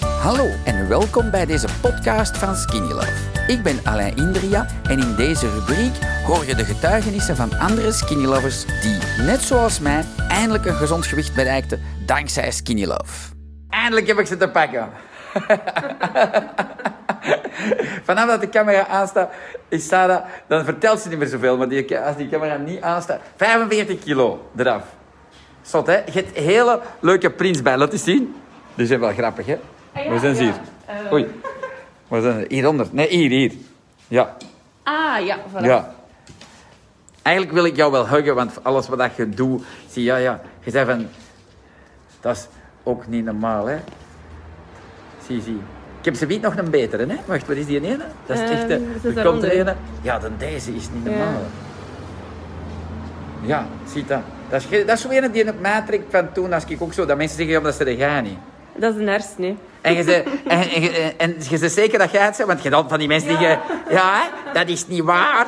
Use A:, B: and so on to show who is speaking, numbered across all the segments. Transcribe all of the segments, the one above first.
A: Hallo en welkom bij deze podcast van Skinny Love. Ik ben Alain Indria en in deze rubriek hoor je de getuigenissen van andere Skinny Lovers die, net zoals mij, eindelijk een gezond gewicht bereikten dankzij Skinny Love. Eindelijk heb ik ze te pakken. Vanaf dat de camera aanstaat, is Sarah, dan vertelt ze niet meer zoveel, maar die, als die camera niet aanstaat, 45 kilo eraf. Zot, hè? Je hebt hele leuke prints bij. Laat eens zien. Die zijn wel grappig, hè?
B: Ah, ja,
A: Waar zijn ze
B: ja. Eh.
A: hier? Oei. Waar zijn ze? Hieronder. Nee, hier, hier. Ja,
B: Ah, ja, voilà.
A: ja. Eigenlijk wil ik jou wel huggen, want alles wat dat je doet... Zie, ja, ja. Je zegt van... Dat is ook niet normaal, hè? Zie, zie. Ik heb ze niet nog een betere, hè? Wacht, wat is die ene? Dat is
B: Ehm,
A: echt... eh,
B: dat
A: er
B: is
A: komt
B: daaronder.
A: er ene. Ja, dan deze is niet
B: Ja.
A: normaal. Ja, zie dat. Dat is, ge- dat is zo ene die op mij trekt van toen, als ik ook zo... Dat mensen zeggen, ja, maar dat ze er gaan niet.
B: Dat is een hersen, hè.
A: En je zei, en, en, en- en je zei zeker dat jij het bent, want je hebt altijd van die mensen die je... Ja, hè, dat is niet waar.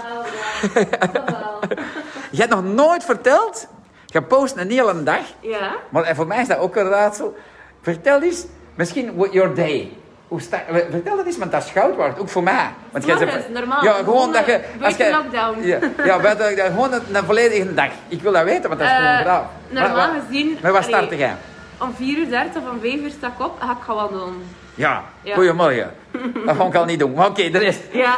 A: je hebt nog nooit verteld. Je post een hele dag.
B: Ja.
A: Maar en voor mij is dat ook een raadsel. Vertel eens, misschien what your day. Hoe sta, vertel dat eens, want dat is goud waard, ook voor mij. Want jij
B: Morgens,
A: zegt-
B: normaal.
A: Ja, gewoon dat je...
B: Buiten
A: als jij-
B: lockdown.
A: Ja, ja buiten, ja, gewoon een, een volledige dag. Ik wil dat weten, want dat is gewoon
B: Eh,
A: graaf.
B: normaal
A: Maar wat-
B: gezien-
A: Maar waar
B: allee.
A: startte jij?
B: Om 4 uur 30 of om 5 uur sta ik op en ga ik gaan wandelen.
A: Ja,
B: Ja.
A: goedemorgen. Dat ga ik al niet doen. Maar oké, de rest.
B: Ja,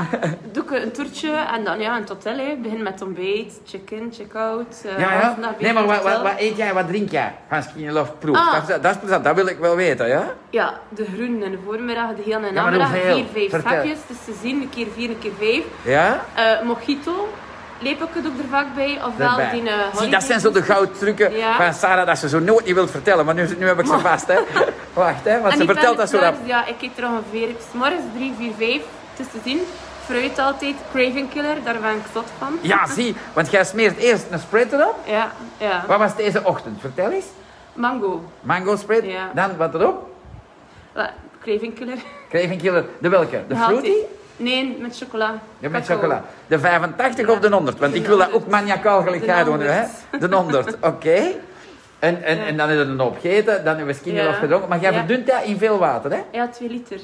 B: doe ik een toertje en dan ja, een hotel. Hè. Begin met ontbijt, check-in, check-out. eh,
A: Ja, ja.
B: avond naar bed,
A: Nee, maar wat, wat,
B: hotel.
A: wat eet jij, wat drink jij van Skinny Love Proef?
B: Ah.
A: Dat, is- dat is plezant, dat wil ik wel weten, ja?
B: Ja, de groen in de voormiddag, de heel in de
A: Ja, maar
B: namiddag.
A: hoeveel?
B: 4, 5
A: Vertel.
B: zakjes. Dus te zien, een keer 4, een keer 5.
A: Ja?
B: mojito, lepelke doe ik er vaak bij. Ofwel
A: Daarbij.
B: die eh,
A: Zie,
B: holiday
A: dat zijn zo de goudtrucken
B: Ja.
A: van Sarah dat ze zo nooit niet wilt vertellen, maar nu, nu heb ik ze vast, hè? Wacht, hè, want
B: En
A: ze
B: ik ben
A: vertelt dat zo rap.
B: s'morgens- Ja, ik eet er ongeveer s morgens 3, 4, 5. Het is te zien. Fruit altijd, craving killer, daar ben ik zot van.
A: Ja, zie, want jij smeert eerst een spread erop.
B: Ja, ja.
A: Wat was deze ochtend? Vertel eens.
B: Mango.
A: Mango spread,
B: Ja.
A: dan wat erop?
B: Wa- Craving killer.
A: Krevenkiller, de welke? De
B: Healthy.
A: fruity?
B: Nee, met chocola.
A: Ja, met
B: Cacao.
A: chocola. De 85 of de 100? Want ik wil dat ook maniacaal gelijk
B: De
A: gaan doen.
B: 100.
A: Hè? De 100, oké. En, en, en dan is het een hoop gegeten, dan hebben we skinny
B: Ja.
A: nog gedronken. Maar jij
B: Ja.
A: verdunt dat in veel water, hè?
B: Ja, 2 liter.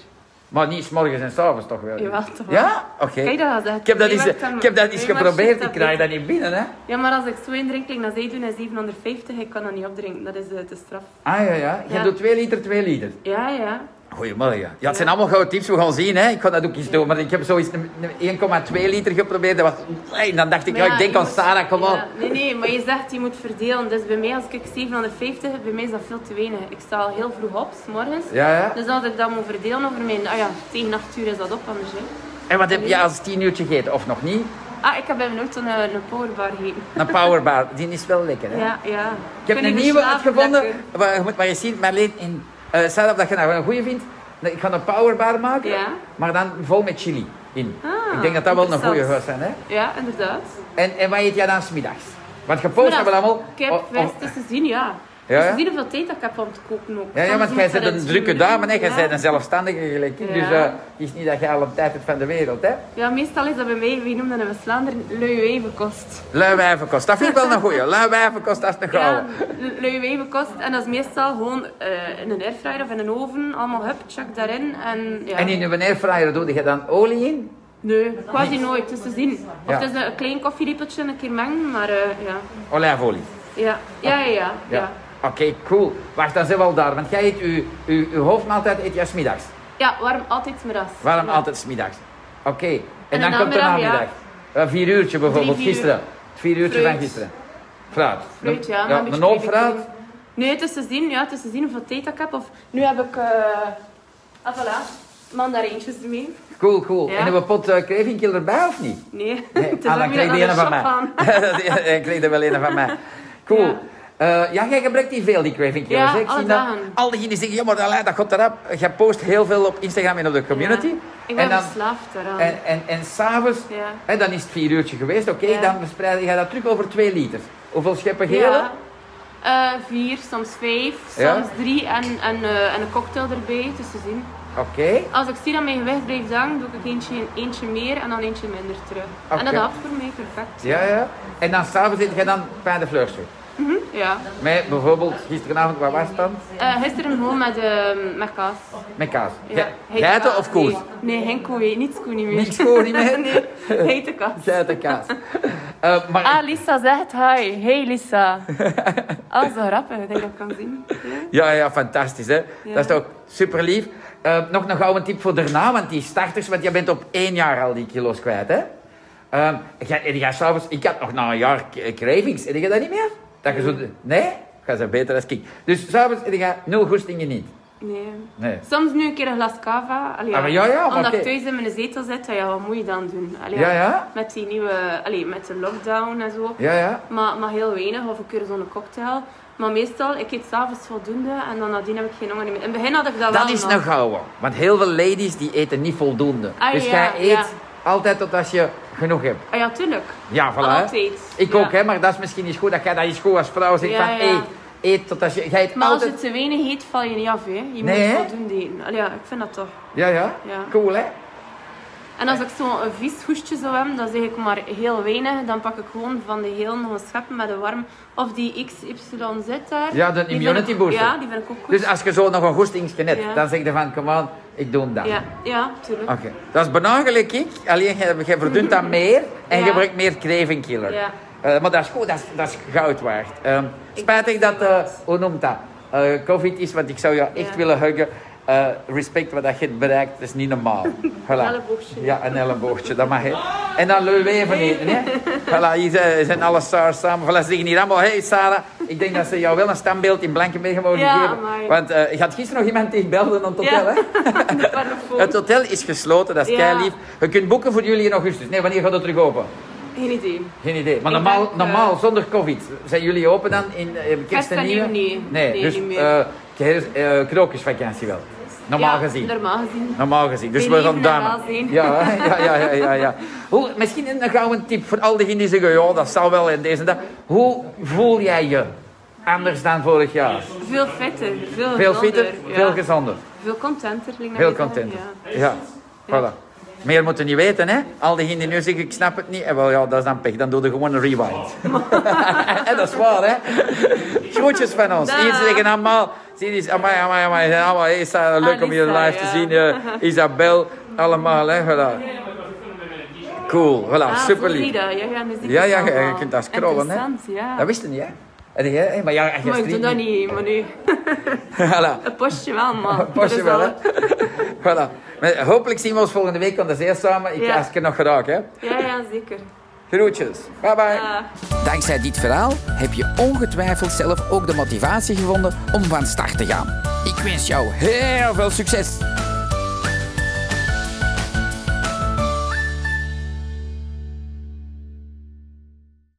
A: Maar niet s'morgens en s'avonds toch wel?
B: Jawel, toch wel.
A: Ja? Oké.
B: Kijk, dat was echt-
A: Ik heb dat
B: Nee,
A: eens,
B: maar dan-
A: ik heb dat eens
B: nee, maar
A: geprobeerd,
B: shit,
A: ik
B: dat
A: krijg
B: weet-
A: dat niet binnen, hè?
B: Ja, maar als ik zo indrink, like dat zij doen, is 750. Ik kan dat niet opdrinken. Dat is eh, te straf.
A: Ah ja, ja. Je
B: Ja.
A: doet 2 liter, 2 liter.
B: Ja, ja.
A: Goedemorgen. Ja, het zijn allemaal gouden tips. We gaan zien. Hè. Ik ga dat ook eens doen. Maar ik heb zoiets een- een 1,2 liter geprobeerd. Dat was... En dan dacht ik,
B: Maar
A: ja, ik denk
B: je
A: aan
B: moet-
A: Sarah, kom op.
B: dus- Ja, Nee, nee, maar je zegt je moet verdelen. Dus bij mij, als ik 750 heb, bij mij is dat veel te weinig. Ik sta al heel vroeg op, s morgens.
A: Ja, ja.
B: Dus als ik dat moet verdelen over mijn... Ah ja, tegen 8 uur is dat op anders, hè.
A: En wat heb je als 10 uurtje gegeten? Of nog niet?
B: Ah, ik heb bij mijn auto een, een powerbar gegeten.
A: Een powerbar. Die is wel lekker, hè?
B: Ja, ja.
A: Ik heb een nieuwe uitgevonden. Waar, je moet maar eens zien, Marleen, in, eh zelf dat je nou een goede vindt. Ik ga een powerbar maken,
B: Ja.
A: maar dan vol met chili in.
B: Ah,
A: ik denk dat dat wel een
B: interessant.
A: goede gaat zijn. Hè?
B: Ja, inderdaad.
A: En, en wat eet jij dan smiddags? Want je post hebben we allemaal...
B: Ik heb
A: oh, oh,
B: vast te zien, ja.
A: Ja,
B: Dus
A: ja?
B: te zien hoeveel tijd dat ik heb om te koken ook.
A: ja, ja,
B: Soms
A: want
B: moet
A: jij
B: dat
A: bent
B: in
A: een
B: tien
A: drukke
B: minuten,
A: dame, hè? jij
B: ja.
A: bent een zelfstandige gelijk. ik.
B: Ja.
A: Dus eh, het is niet dat jij al op tijd bent van de wereld. Hè?
B: Ja, meestal is dat bij mij, wie noemt dat in Vlaanderen, luie wijvenkost.
A: Lui wijvenkost, dat vind ik wel een goeie. Lui wijvenkost, dat is een gouden.
B: Ja, luie wijvenkost. En dat is meestal gewoon eh, in een airfryer of in een oven. Allemaal hup, check daarin. En, ja.
A: En in je airfryer doe je dan olie in?
B: Nee, quasi nooit. Dus te zien.
A: Ja.
B: Of het is een klein koffielepeltje een keer mengen, maar eh, ja.
A: Olijfolie.
B: Ja, ja, ja, ja.
A: Ja.
B: ja.
A: Oké, cool. Wacht, dan zijn we al daar. Want jij eet je, je, je hoofdmaaltijd eet jij smiddags.
B: Ja, warm altijd middags.
A: Waarom
B: Ja.
A: altijd smiddags? Oké. En,
B: En
A: dan
B: de
A: komt de
B: namiddag,
A: namiddag. Eh, vier uurtje bijvoorbeeld,
B: Drie, vier
A: gisteren. Het vier uurtje van
B: Fruit.
A: gisteren. Fruit.
B: Fruit, ja. maar
A: ja
B: een beetje
A: een hoop fruit.
B: kruidenkoek. Nee, het is te zien, ja, het is te zien hoeveel tijd dat ik heb. Of, nu heb ik, eh ah voilà, mandarijntjes ermee.
A: Cool, cool.
B: Ja.
A: En hebben we pot eh krevinkje erbij of niet?
B: Nee, het
A: ah,
B: is
A: dan
B: weer
A: kreeg
B: een
A: die ene
B: andere
A: van mij.
B: shop aan.
A: Dan kreeg er wel een van mij. Cool.
B: Ja.
A: Ja. ja, jij gebruikt die veel, die craving killers.
B: Ja,
A: hè? ik
B: alle
A: zie dat,
B: dagen.
A: al diegenen die zeggen, ja maar Alain, dat gaat erop. Jij post heel veel op Instagram en op de community.
B: Ja. Ik dus
A: en
B: ben
A: dan,
B: verslaafd daaraan.
A: En, en, en s'avonds,
B: Ja.
A: hè, dan is het vier uurtje geweest, oké,
B: Ja.
A: dan verspreid je dat terug over twee liter. Hoeveel scheppen gele?
B: Ja. Eh, vier, soms vijf,
A: Ja.
B: soms drie en, en, eh, en een cocktail erbij, dus te zien.
A: Oké,
B: Als ik zie dat mijn gewicht blijft hangen, doe ik eentje, eentje meer en dan eentje minder terug. En
A: Oké.
B: dat haalt voor mij perfect.
A: ja, ja. En dan s'avonds eet je dan pain de fleurs terug.
B: Ja.
A: Met bijvoorbeeld gisteravond, waar was het dan?
B: Eh, gisteren gewoon met, eh, met kaas.
A: Met kaas.
B: Ja.
A: Ge-
B: Hete
A: Geiten
B: kaas.
A: of koers?
B: Nee, nee geen koe, niets koe niet meer.
A: Niets koe niet meer?
B: nee, hete kaas.
A: Geitenkaas. Eh, maar
B: Ah, Lisa zegt hi. Hey Lisa. Ah, zo grappig, ik denk dat ik kan zien. Ja.
A: Ja, ja, fantastisch hè.
B: Ja.
A: Dat is toch super lief. Eh, nog een gouden tip voor daarna, want die starters, want jij bent op één jaar al die kilo's kwijt hè. Ehm jij- en jij s'avonds, ik had nog na een jaar k- eh, cravings, heb je dat niet meer? Dat je zo, nee? Ga ze beter als ik. Dus s'avonds heb je nul goestingen niet.
B: Nee.
A: Nee.
B: Soms nu een keer een glas cava. Allee,
A: Ah, maar ja, ja, maar
B: omdat
A: oké.
B: ik thuis in mijn zetel zit, ja, wat moet je dan doen? Allee,
A: Ja, ja.
B: Met die nieuwe, allee, met de lockdown en zo.
A: Ja, ja.
B: Maar, maar heel weinig, of een keer zo'n cocktail. Maar meestal, ik eet s'avonds voldoende en dan nadien heb ik geen honger meer. In het begin had ik dat,
A: Dat
B: wel
A: is
B: nog.
A: een gouden. Want heel veel ladies die eten niet voldoende.
B: Ah,
A: dus
B: ja,
A: jij eet
B: ja.
A: altijd tot als je genoeg hebt.
B: Ah ja, tuurlijk.
A: Ja, voilà. hè.
B: Altijd.
A: Ik
B: ja.
A: ook, hè, maar dat is misschien eens goed dat jij dat eens goed als vrouw zegt
B: Ja,
A: van
B: ja.
A: eet, eet tot als je... Jij eet
B: Maar als
A: altijd...
B: je te weinig eet, val je niet af, hè. Je
A: Nee, hè?
B: moet voldoende eten. Allee, ja, ik vind dat toch.
A: Ja, ja,
B: Ja.
A: Cool, hè?
B: En als ik zo'n vies hoestje zou hebben, dan zeg ik maar heel weinig. Dan pak ik gewoon van de heel nog een schep met een warm... Of die XYZ daar.
A: Ja, de
B: Die
A: immunity
B: vind ik-
A: booster.
B: Ja, die vind ik ook goed.
A: Dus als je zo nog een goestingsje hebt,
B: Ja.
A: dan zeg je van, come on, ik doe hem dan.
B: Ja, ja, tuurlijk.
A: Oké. Dat is bijna gelijk ik, alleen jij, jij verdunt dat meer en
B: Ja.
A: je gebruikt meer craving killer.
B: Ja.
A: Eh, maar dat is goed, dat is, dat is goud waard. Ehm, spijtig dat, eh, hoe noemt dat, Eh, covid is, want ik zou jou echt
B: Ja.
A: willen huggen. Eh, respect wat dat je hebt bereikt, dat is niet normaal. Voilà.
B: elleboogje.
A: Ja, een elleboogje, dat mag hè. En dan lul even eten, hè. Voilà, hier zijn- zijn alle stars samen. Voilà, ze zeggen hier allemaal, hey Sarah, ik denk dat ze jou wel een standbeeld in Blankenberg mogen
B: Ja,
A: geven.
B: amai.
A: Want eh, je had gisteren nog iemand tegen belden aan het hotel,
B: Ja.
A: hè?
B: De parfum.
A: Het hotel is gesloten, dat is
B: Ja.
A: keilief. Je kunt boeken voor jullie in augustus. Nee, wanneer gaat het terug open?
B: Geen idee.
A: Geen idee. Maar
B: Ik
A: normaal,
B: denk, eh,
A: normaal zonder covid, zijn jullie open dan in eh, kerst
B: Kerst
A: en
B: en
A: nieuw?
B: nieuw, nee. Nee,
A: dus
B: niet meer.
A: eh, kerst- eh, krokusvakantie wel. Normaal
B: Ja,
A: gezien.
B: Normaal gezien.
A: Normaal gezien. Dus
B: Beleven
A: we gaan
B: en
A: damen.
B: welzijn.
A: Ja, hè? ja, ja, ja, ja. ja. Hoe, misschien een gouden tip voor al diegenen die zeggen, ja, dat zal wel in deze dag. Hoe voel jij je anders dan vorig jaar?
B: Veel vetter. Veel,
A: Veel fitter,
B: gezonder, ja.
A: veel gezonder.
B: Veel contenter. klinkt dat
A: Heel
B: niet zo,
A: content.
B: Nou, ja.
A: Ja, voilà. Meer moeten niet weten, hè? Al diegenen die nu zeggen, ik snap het niet. En wel, ja, dat is dan pech. Dan doe je gewoon een rewind. en dat is waar, hè? Groetjes van ons.
B: Dag.
A: Hier zeggen allemaal... Zie je, amai, amai, amai. zijn Allemaal, hey, Sarah, leuk om je
B: Alisa,
A: live te
B: ja.
A: zien. eh, Isabel, allemaal, hè? Voilà. Cool, voilà,
B: Ah,
A: super
B: zo zie
A: lief.
B: je dat. Ja, ja, muziek
A: Ja,
B: is
A: ja, je- je
B: allemaal
A: kunt dat scrollen, hè?
B: interessant, ja.
A: Dat wist je niet, hè? En jij, hè? Maar ja, je
B: Maar ik doe
A: streamt
B: dat niet, maar nu...
A: Voilà.
B: Een postje wel, man.
A: Pas je
B: Dat is
A: wel,
B: al-
A: hè? voilà. Maar hopelijk zien we ons volgende week, want dat is eerst samen. Ik
B: Ja.
A: als ik er nog geraak, hè.
B: Ja, ja, zeker.
A: Groetjes. Bye bye.
B: Ah.
A: Dankzij dit verhaal heb je ongetwijfeld zelf ook de motivatie gevonden om van start te gaan. Ik wens jou heel veel succes.